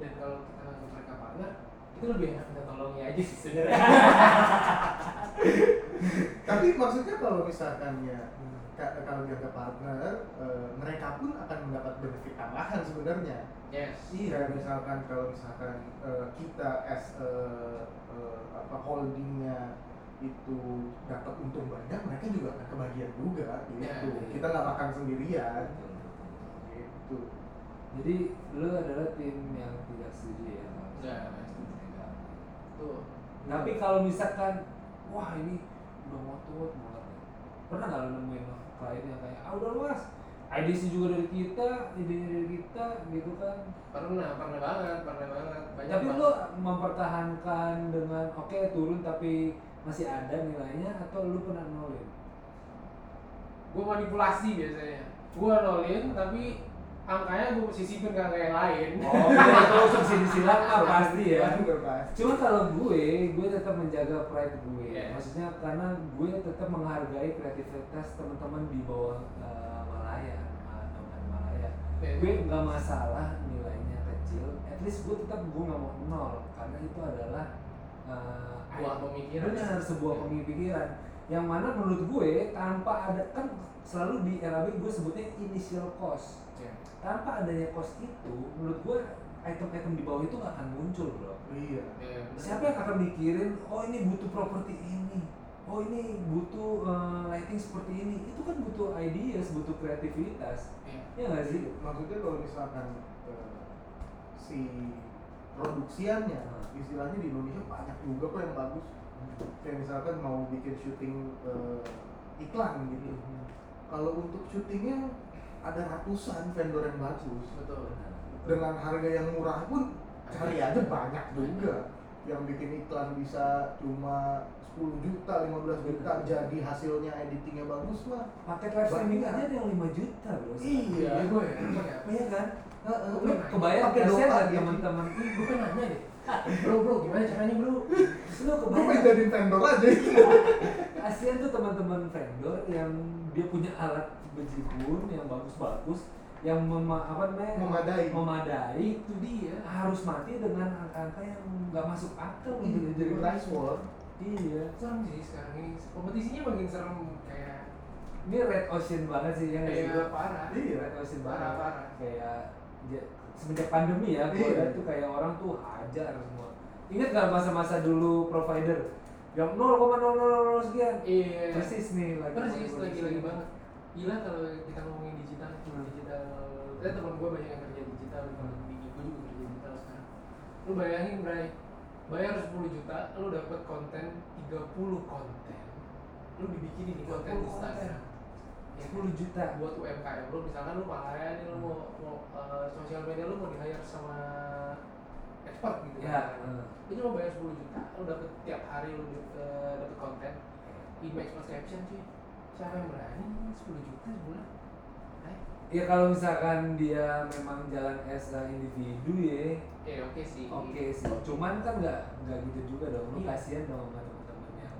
Speaker 2: dan kalau kita nganggap mereka partner itu lebih enak kita tolongi aja sih sebenarnya
Speaker 3: Tapi maksudnya kalau misalkan ya ka- kalau dia ke partner, eh, mereka pun akan mendapat benefit tambahan sebenarnya.
Speaker 2: yes
Speaker 1: Iya.
Speaker 3: Kayak misalkan kalau misalkan eh, kita as eh, eh, apa holdingnya itu dapat untung banyak, mereka juga akan kebagian juga gitu.
Speaker 2: Ya,
Speaker 1: iya.
Speaker 3: Kita nggak makan sendirian
Speaker 1: Betul, betul.
Speaker 3: gitu.
Speaker 1: jadi lu adalah tim yang tidak setuju ya kalau
Speaker 2: Enggak,
Speaker 1: misalkan
Speaker 2: setuju.
Speaker 1: tim yang-
Speaker 2: tuh
Speaker 1: tapi kalau misalkan wah ini udah mau tua banget ya. pernah nggak lo nemuin klien yang kayak ah udah luas IDC juga dari kita, idenya dari kita gitu kan
Speaker 2: pernah pernah banget pernah banget banyak
Speaker 1: tapi
Speaker 2: banget.
Speaker 1: lo mempertahankan dengan oke turun tapi masih ada nilainya atau lu pernah nolin
Speaker 2: gue manipulasi biasanya gue nolin tapi angkanya gue posisipin ke angka yang lain
Speaker 1: oh itu subsidi silakan pasti ya
Speaker 3: Pasti berbahas.
Speaker 1: Cuma kalau gue, gue tetap menjaga pride gue.
Speaker 2: Iya.
Speaker 1: Maksudnya karena gue tetap menghargai kreativitas teman-teman di bawah eh, Malaya, eh, teman Malaya.
Speaker 2: Iya.
Speaker 1: Gue nggak masalah nilainya kecil. At least gue tetap gue nggak mau nol karena itu adalah eh,
Speaker 2: Buah pemikiran. Iya.
Speaker 1: Benar, sebuah pemikiran yang mana menurut gue tanpa ada kan selalu di RAB gue sebutnya initial cost
Speaker 2: Iya.
Speaker 1: tanpa adanya cost itu menurut gue item-item di bawah itu nggak akan muncul bro
Speaker 3: Iya.
Speaker 2: Iya, bener.
Speaker 1: siapa yang akan mikirin oh ini butuh properti ini oh ini butuh eh, lighting seperti ini itu kan butuh ideas butuh kreativitas
Speaker 2: Iya.
Speaker 1: ya nggak sih
Speaker 3: Maksudnya kalau misalkan eh, si produksiannya,
Speaker 1: Hmm.
Speaker 3: istilahnya di Indonesia banyak juga kok yang bagus. Kayak misalkan mau bikin syuting eh, iklan gitu.
Speaker 2: Hmm.
Speaker 3: Kalau untuk syutingnya ada ratusan vendor yang bagus.
Speaker 2: betul
Speaker 3: Dengan harga yang murah pun cari aja banyak juga. Yang bikin iklan bisa cuma 10 juta, 15 juta jadi hasilnya editingnya bagus mah.
Speaker 1: paket live streaming
Speaker 3: Banyak.
Speaker 1: aja ada yang 5 juta bro
Speaker 2: iya
Speaker 3: Iya.
Speaker 2: gue ya
Speaker 1: iya kan
Speaker 3: Heeh.
Speaker 1: lu kebayang
Speaker 3: Pakai
Speaker 1: kasihan
Speaker 3: doa
Speaker 1: kan
Speaker 3: dia.
Speaker 1: teman-teman
Speaker 2: gue pengen nanya deh bro bro gimana caranya bro
Speaker 1: lu
Speaker 3: Gue pengen
Speaker 1: kebayang
Speaker 3: jadi vendor aja.
Speaker 1: kasihan tuh teman-teman vendor yang dia punya alat bejibun yang bagus-bagus yang mema- apa namanya
Speaker 3: Memadai.
Speaker 1: Iya. memadai
Speaker 2: itu dia
Speaker 1: harus mati dengan angka-angka yang nggak masuk akal gitu
Speaker 3: Jadi
Speaker 1: jadi
Speaker 3: price war.
Speaker 1: iya
Speaker 2: serem sih sekarang ini kompetisinya makin serem kayak
Speaker 1: ini red ocean banget sih yang
Speaker 2: kayak parah
Speaker 1: Iya,
Speaker 3: Iya.
Speaker 1: red ocean banget
Speaker 2: parah parah
Speaker 1: kayak ya, semenjak pandemi ya gue
Speaker 3: Iya.
Speaker 1: lihat tuh kayak orang tuh hajar semua ingat nggak masa-masa dulu provider yang 0,000 sekian
Speaker 2: iya
Speaker 1: persis nih lagi
Speaker 2: persis lagi lagi banget gila kalau kita ngomongin digital digital saya teman gue banyak yang kerja digital kalau bini gue juga kerja digital sekarang lu bayangin Bray bayar 10 juta lu dapat konten 30 konten lu dibikinin di
Speaker 1: 30
Speaker 2: konten
Speaker 1: konten.
Speaker 2: Instagram ya
Speaker 1: 10 juta
Speaker 2: buat UMKM lu misalkan lu pahalanya nih lu mau, mau eh, sosial media lu mau di hire sama expert gitu
Speaker 1: ya
Speaker 2: kan. lu cuma bayar 10 juta lu dapet tiap hari lu eh, dapet konten image plus caption cuy siapa yang berani 10 juta sebulan eh
Speaker 1: ya kalau misalkan dia memang jalan as a individu ya
Speaker 2: ya oke sih
Speaker 1: oke sih cuman kan nggak nggak gitu juga dong lu
Speaker 2: Iya.
Speaker 1: kasihan dong sama teman-teman yang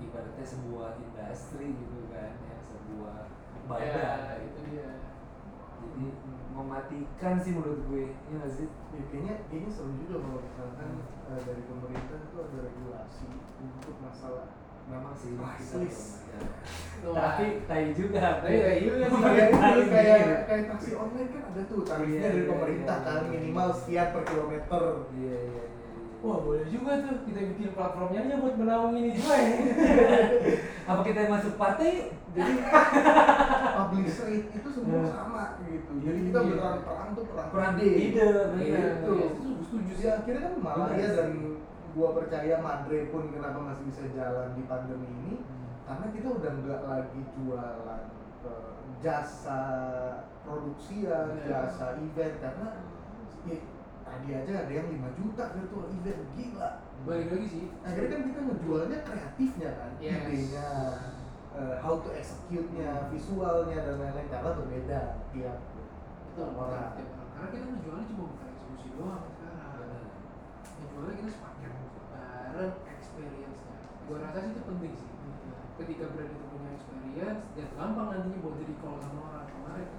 Speaker 1: ibaratnya sebuah industri gitu kan ya sebuah
Speaker 2: ya,
Speaker 1: badan
Speaker 2: itu dia
Speaker 1: jadi mematikan sih menurut gue ya nggak sih
Speaker 3: Ya, kayaknya kayaknya seru juga kalau misalkan eh, dari pemerintah itu ada regulasi untuk masalah
Speaker 1: memang sih
Speaker 3: Priceless.
Speaker 1: kita- ya.
Speaker 2: Lu-
Speaker 1: tapi tai juga
Speaker 2: tapi ya iya
Speaker 3: kayak
Speaker 2: sih
Speaker 1: Pemerintah
Speaker 3: kayak
Speaker 1: ini.
Speaker 3: kayak taksi online kan ada tuh tarifnya
Speaker 1: Iya,
Speaker 3: dari
Speaker 1: iya,
Speaker 3: pemerintah
Speaker 1: iya,
Speaker 3: kan
Speaker 1: iya.
Speaker 3: minimal sekian per kilometer
Speaker 1: iya iya iya iya.
Speaker 2: wah boleh juga tuh kita bikin platformnya aja buat menaungi ini juga ya
Speaker 1: apa kita masuk partai yuk?
Speaker 3: jadi publish rate itu semua
Speaker 1: Iya.
Speaker 3: sama gitu jadi kita
Speaker 1: Iya.
Speaker 3: beneran perang tuh perang
Speaker 1: Perang
Speaker 3: ide.
Speaker 1: ide, bener.
Speaker 3: Iya, itu
Speaker 2: Iya, itu setuju sih.
Speaker 3: ya akhirnya kan malah
Speaker 1: Bener.
Speaker 3: ya dan gua percaya Madre pun kenapa masih bisa jalan di pandemi ini karena kita udah nggak lagi jualan eh, jasa produksian,
Speaker 2: Iya.
Speaker 3: jasa event karena ya, tadi aja ada yang 5 juta virtual event gila.
Speaker 2: balik lagi sih
Speaker 3: Akhirnya kan kita ngejualnya kreatifnya kan,
Speaker 2: Yes.
Speaker 3: idenya, eh, how to execute-nya, visualnya dan lain-lain karena berbeda tiap
Speaker 2: Betul,
Speaker 3: orang.
Speaker 2: tiap orang. Karena kita ngejualnya cuma bukan eksekusi doang sekarang. Ngejualnya kita sepaket bareng experience-nya. Gua rasa sih itu penting sih. Ketika brand itu punya experience, dan gampang nantinya buat jadi call sama orang kemarin.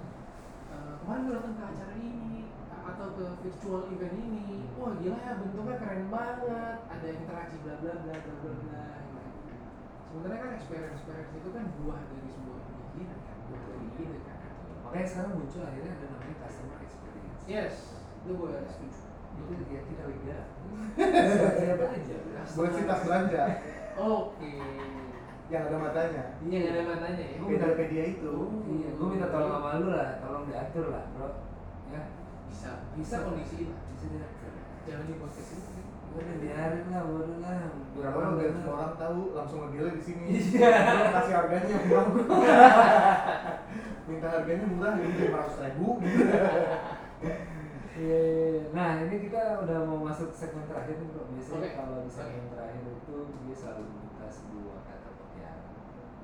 Speaker 2: eh, kemarin gue datang ke acara ini atau ke virtual event ini, wah gila ya bentuknya keren banget, ada interaksi bla bla bla bla bla bla. gitu. Sebenarnya kan experience experience itu kan buah dari sebuah ide kan, buah dari ide kan.
Speaker 1: makanya sekarang muncul akhirnya ada namanya customer experience
Speaker 2: Yes, itu gue setuju.
Speaker 1: itu
Speaker 2: Gitu.
Speaker 1: ya kita beda siapa aja
Speaker 3: Buat si tas belanja
Speaker 2: Oke.
Speaker 3: yang ada matanya.
Speaker 2: Ini yang ada mananya ya.
Speaker 1: Gua minta-
Speaker 3: Media-media itu.
Speaker 1: iya gue minta tolong sama lu lah tolong diatur lah bro ya
Speaker 2: Bisa, bisa kondisi lah.
Speaker 1: bisa diatur
Speaker 2: Jangan di podcast ini.
Speaker 1: udah biarin lah bodo lah
Speaker 3: Berapa orang
Speaker 1: Bodo
Speaker 3: udah
Speaker 1: lah.
Speaker 3: orang tahu langsung ngegele di sini.
Speaker 1: Iya.
Speaker 3: Orang Kasih harganya murah. Minta harganya murah gitu 500 ribu.
Speaker 1: Iya, iya, iya. nah ini kita udah mau masuk segmen terakhir nih bro biasanya
Speaker 2: Oke.
Speaker 1: kalau di segmen terakhir itu gue selalu minta sebuah kata putiara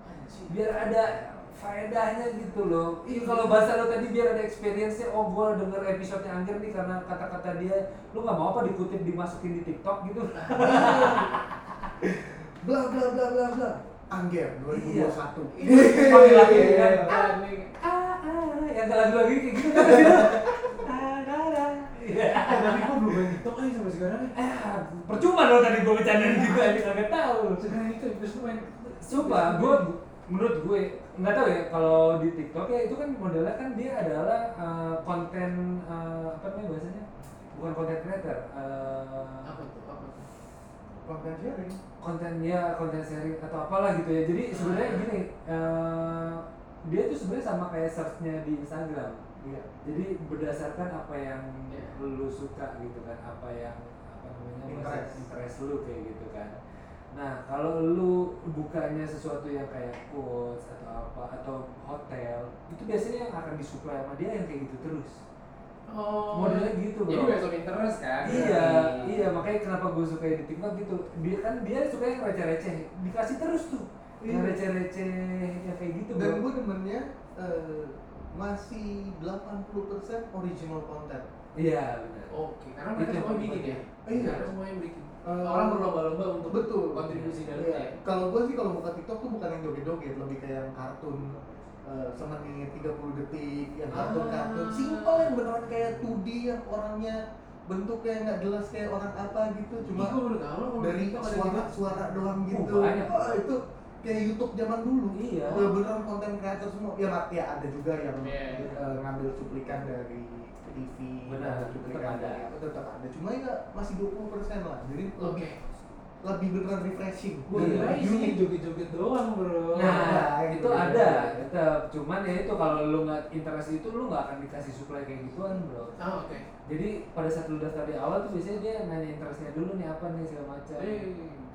Speaker 2: Anjing.
Speaker 1: biar ada faedahnya gitu loh Ih, kalau bahasa lo tadi biar ada experience-nya oh gua denger episode yang Angger nih karena kata-kata dia lu nggak mau apa dikutip dimasukin di TikTok gitu
Speaker 3: Bla bla bla bla bla. Angger 2021.
Speaker 1: Iya. Pakai lagi
Speaker 3: Iya.
Speaker 1: kan.
Speaker 2: Ah, ini.
Speaker 1: ah ah yang ada lagu lagi kayak gitu kan dia. Ah, da, da. Iya.
Speaker 2: Ah, Tapi gue belum main TikTok aja sampai sekarang. ya.
Speaker 1: Ah, percuma lo tadi gua bercandain gitu aja kagak tahu
Speaker 2: Sekarang itu itu semua main.
Speaker 1: Sumpah, gue menurut gue nggak tahu ya kalau di TikTok ya itu kan modelnya kan dia adalah eh, konten eh, apa namanya bahasanya bukan konten creator eh,
Speaker 2: Apa tuh? Apa tuh?
Speaker 3: Konten sharing.
Speaker 1: konten ya konten sharing atau apalah gitu ya jadi sebenarnya gini eh, dia tuh sebenarnya sama kayak searchnya di Instagram
Speaker 3: Iya.
Speaker 1: jadi berdasarkan apa yang
Speaker 2: Iya.
Speaker 1: lu suka gitu kan apa yang apa namanya
Speaker 3: Interest.
Speaker 1: bahasa interest lu kayak gitu kan nah kalau lu bukanya sesuatu yang kayak quotes atau apa atau hotel itu biasanya yang akan disuplai sama dia yang kayak gitu terus
Speaker 2: Oh.
Speaker 1: modelnya gitu
Speaker 2: Jadi
Speaker 1: bro
Speaker 2: besok interest kan?
Speaker 1: iya iya makanya kenapa gue suka di tiktok gitu dia kan dia suka yang receh-receh dikasih terus tuh yang
Speaker 3: Iya.
Speaker 1: receh-receh yang kayak gitu
Speaker 3: Dan
Speaker 1: bro
Speaker 3: gue temennya eh, masih 80% original content.
Speaker 1: iya benar
Speaker 2: Oke,
Speaker 1: Itu
Speaker 2: karena mereka
Speaker 1: yang
Speaker 2: semua
Speaker 1: paling
Speaker 2: bikin ya.
Speaker 3: penting. Iya.
Speaker 2: Karena semua yang bikin.
Speaker 3: Eh,
Speaker 2: Orang berlomba-lomba untuk
Speaker 3: betul.
Speaker 2: kontribusi dari
Speaker 3: Iya. Kalau gue sih kalau buka TikTok tuh bukan yang joget-joget, lebih kayak yang kartun eh, semenit 30 detik, yang kartun-kartun
Speaker 2: Ah.
Speaker 3: simple yang beneran kayak 2D yang orangnya bentuknya nggak jelas kayak orang apa gitu,
Speaker 2: Ih, Iya, gua
Speaker 3: cuma
Speaker 2: baru tahu kalau
Speaker 3: dari
Speaker 2: TikTok ada gitu.
Speaker 3: suara-suara doang gitu.
Speaker 1: Oh, banyak.
Speaker 3: Wah, itu kayak YouTube zaman dulu.
Speaker 1: Iya.
Speaker 3: Bener- beneran konten kreator semua. Ya mat ya ada juga yang
Speaker 2: Iya.
Speaker 3: eh, ngambil cuplikan dari TV,
Speaker 1: Benar,
Speaker 3: ngambil cuplikan
Speaker 1: tetap ada.
Speaker 3: dari apa, tetap ada. Cuma ya masih 20% lah. Jadi
Speaker 2: Oke.
Speaker 3: lebih lebih beneran refreshing.
Speaker 2: Buat
Speaker 1: Iya.
Speaker 2: iya.
Speaker 3: Unik.
Speaker 2: joget-joget doang
Speaker 1: Nah,
Speaker 2: bro
Speaker 3: Nah,
Speaker 1: itu
Speaker 3: itu
Speaker 1: ada ada tetap cuman ya itu kalau lu nggak interest itu lu nggak akan dikasih supply kayak gituan bro
Speaker 2: Oh, oke.
Speaker 1: jadi pada saat lu daftar di awal tuh biasanya dia nanya interestnya dulu nih apa nih segala macam
Speaker 2: Jadi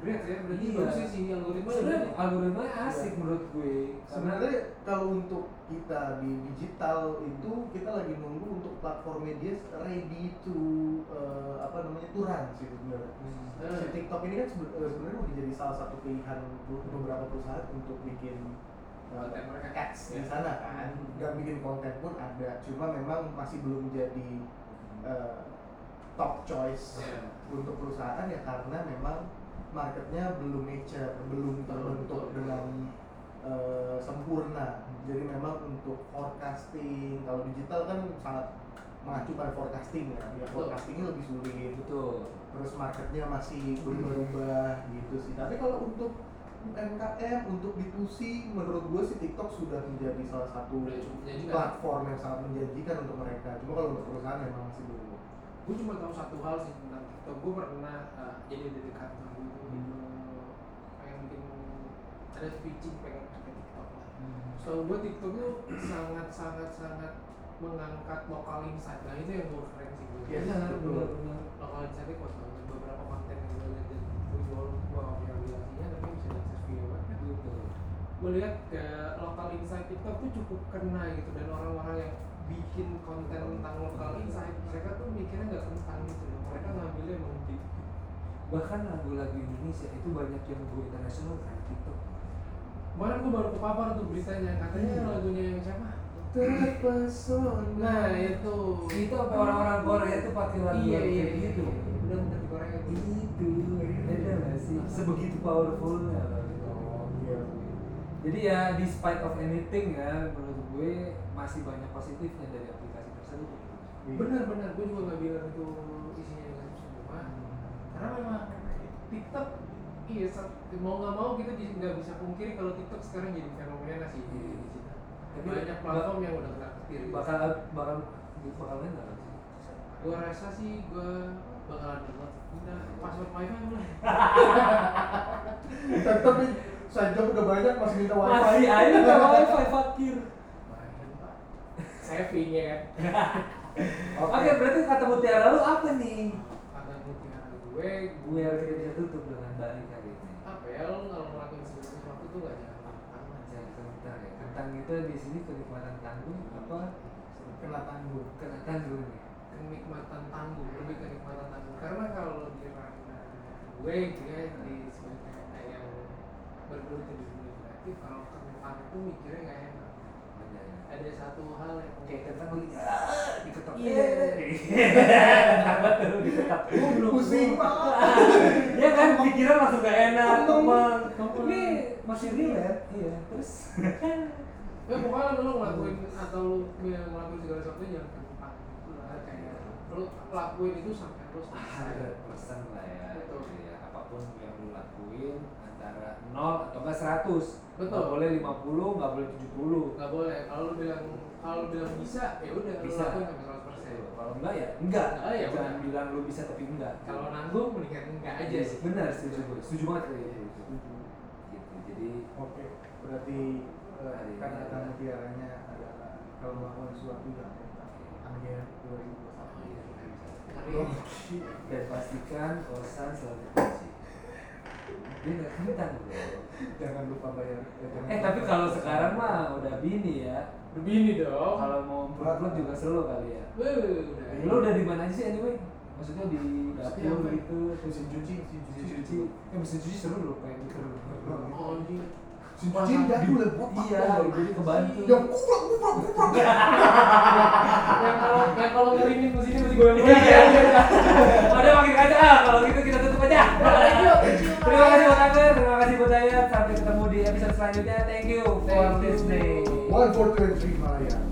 Speaker 2: great ya, berarti
Speaker 1: Iya.
Speaker 2: bagus sih si algoritma. ya.
Speaker 1: sebenarnya algoritmanya asik menurut gue karena
Speaker 3: Sebenarnya kalau untuk kita di digital itu kita lagi nunggu untuk platform media ready to eh, apa namanya to run sih sebenarnya.
Speaker 1: Hmm,
Speaker 2: Nah,
Speaker 3: Si TikTok ini kan sebe- eh, sebenarnya udah jadi salah satu pilihan untuk beberapa perusahaan untuk bikin
Speaker 2: Konten
Speaker 3: eh,
Speaker 2: mereka.
Speaker 3: ads di
Speaker 2: Ya.
Speaker 3: sana kan.
Speaker 1: Hmm.
Speaker 3: Dan bikin konten pun ada, cuma memang masih belum jadi eh, top choice
Speaker 2: Ya.
Speaker 3: untuk perusahaan ya karena memang marketnya belum mature, belum terbentuk
Speaker 2: Betul.
Speaker 3: dengan eh, sempurna. Jadi memang untuk forecasting, kalau digital kan sangat mengacu pada forecasting ya. Ya
Speaker 2: Betul.
Speaker 3: forecastingnya lebih sulit,
Speaker 1: betul
Speaker 3: terus marketnya masih berubah-ubah gitu sih. Tapi kalau untuk UMKM, untuk B2C, menurut gue sih TikTok sudah menjadi salah satu
Speaker 2: Udah cukup menjanjikan.
Speaker 3: platform yang sangat menjanjikan untuk mereka. Cuma kalau untuk perusahaan memang masih
Speaker 1: Iya.
Speaker 3: belum.
Speaker 2: gue cuma tahu satu hal sih tentang TikTok gue pernah uh, jadi dari kantor gue gitu. pengen bikin ada pitching pengen pakai TikTok lah so gue TikTok tuh sangat sangat sangat mengangkat lokal insight nah itu yang gue keren sih gue
Speaker 3: Yes,
Speaker 1: benar
Speaker 3: betul.
Speaker 1: benar benar
Speaker 2: lokal insightnya kuat banget beberapa konten yang gue lihat dari gue jual gue viralisasinya tapi bisa diakses video banget
Speaker 1: betul
Speaker 2: gue lihat ke lokal insight TikTok tuh cukup kena gitu dan orang-orang yang bikin konten tentang lokal insight mereka tuh mikirnya nggak kentang gitu loh mereka ngambilnya emang di
Speaker 1: bahkan lagu-lagu Indonesia itu banyak yang go internasional kayak TikTok
Speaker 2: kemarin gue baru kepapar tuh beritanya katanya
Speaker 1: Iya.
Speaker 2: lagunya yang siapa terpesona itu
Speaker 1: itu apa orang-orang Korea itu pakai lagu
Speaker 2: Hmm. iya iya
Speaker 1: kayak
Speaker 2: gitu
Speaker 1: gitu
Speaker 2: udah udah di Korea gitu
Speaker 1: itu beda nggak sih sebegitu powerfulnya loh itu. jadi ya despite of anything ya menurut gue masih banyak positifnya dari aplikasi tersebut
Speaker 2: benar-benar gue juga nggak bilang itu isinya negatif semua karena memang TikTok iya sa- mau nggak mau kita di- nggak bisa pungkiri kalau TikTok sekarang jadi fenomena sih di
Speaker 1: Iya.
Speaker 2: digital
Speaker 1: Tapi
Speaker 2: banyak
Speaker 1: bak-
Speaker 2: platform yang udah kena ketir
Speaker 1: bakal bakal bakal enak nggak sih
Speaker 2: gue rasa sih gue bakalan download udah password wifi mulai
Speaker 3: Tetep nih, sejam udah banyak masih minta wifi.
Speaker 1: masih aja nggak wifi fakir
Speaker 2: saving ya kan
Speaker 1: oke berarti kata mutiara lu apa nih
Speaker 2: kata mutiara gue
Speaker 1: gue harus kita bisa tutup dengan baik hari ini
Speaker 2: apa ya lo kalau ngelakuin segala sesuatu tuh gak jangan mentang-mentang aja
Speaker 1: Jangan kentang ya. Kentang itu di sini kenikmatan tanggung apa
Speaker 3: Kena tanggung.
Speaker 1: kena tanggung ya?
Speaker 2: kenikmatan tangguh lebih kenikmatan tangguh karena kalau di ranah gue dia di sebagai eh, yang bergelut di dunia kreatif kalau kentang itu mikirnya gak enak
Speaker 1: Bener.
Speaker 2: ada satu hal yang
Speaker 1: Kayak gitu. kentang lagi "Ah," diketok.
Speaker 2: Iya.
Speaker 1: Kentang banget tuh, diketok.
Speaker 2: gue belum
Speaker 3: Pusing
Speaker 2: gua-
Speaker 3: banget.
Speaker 1: Ya kan pikiran langsung gak enak, teman.
Speaker 2: Temen.
Speaker 1: Ini masih relate. Iya. Terus
Speaker 2: Ya pokoknya lu ngelakuin
Speaker 1: Hmm.
Speaker 2: atau lu ya, ngelakuin segala sesuatu jangan kentang gitu lah
Speaker 1: Iya.
Speaker 2: kayak lu lakuin itu sampai lu
Speaker 1: ada
Speaker 2: selesai
Speaker 1: persen lah ya.
Speaker 2: Betul.
Speaker 1: Iya, apapun yang lu lakuin antara 0 atau enggak 100.
Speaker 2: Betul.
Speaker 1: Nggak boleh 50, nggak boleh 70.
Speaker 2: nggak boleh kalau lu bilang kalau lu bilang bisa ya udah lu
Speaker 1: Bisa.
Speaker 2: lakuin sampai 100 persen
Speaker 1: Kalau enggak ya enggak.
Speaker 2: Oh, iya,
Speaker 1: Jangan
Speaker 2: benar.
Speaker 1: bilang lu bisa tapi enggak.
Speaker 2: kalau nanggung mendingan enggak aja sih
Speaker 1: Benar, setuju gue. Setuju banget kayak gitu.
Speaker 3: Setuju.
Speaker 1: Gitu. Jadi
Speaker 3: Oke, berarti eh,
Speaker 1: Hari ini
Speaker 3: kata-kata
Speaker 1: ada-
Speaker 3: mutiaranya adalah kalau melakukan sesuatu yang akhir 2021.
Speaker 2: Tapi
Speaker 1: dan pastikan kosan selalu kunci. Dia nggak kentang bro.
Speaker 3: Jangan lupa bayar. Ya, jangan
Speaker 1: Eh
Speaker 3: lupa
Speaker 1: tapi kalau
Speaker 3: bayar.
Speaker 1: sekarang mah udah bini ya.
Speaker 2: begini dong
Speaker 1: Kalau mau berbuat juga seru kali ya.
Speaker 2: Wuh,
Speaker 1: Eh, Lu udah di mana aja sih anyway? Maksudnya di
Speaker 2: Maksudnya
Speaker 1: dapur
Speaker 2: apa?
Speaker 1: gitu, terus
Speaker 3: mesin cuci, mesin
Speaker 1: mesin
Speaker 3: cuci.
Speaker 1: cuci. Eh mesin cuci seru loh kayak gitu.
Speaker 2: Oh, anjing.
Speaker 3: Mesin cuci enggak dulu botak.
Speaker 1: Iya, jadi kebantu.
Speaker 3: Yang kuplak kuplak kuplak.
Speaker 2: yang kalau yang kalau ngeringin mesinnya mesti gue yang goyang.
Speaker 1: ya, Udah makin kaca ah, kalau gitu kita tutup aja. Iya. Terima kasih buat Angger, terima kasih buat Dayat. Sampai ketemu di episode selanjutnya. Thank you for
Speaker 2: Thank you.
Speaker 1: listening.
Speaker 3: One for twenty Malaya.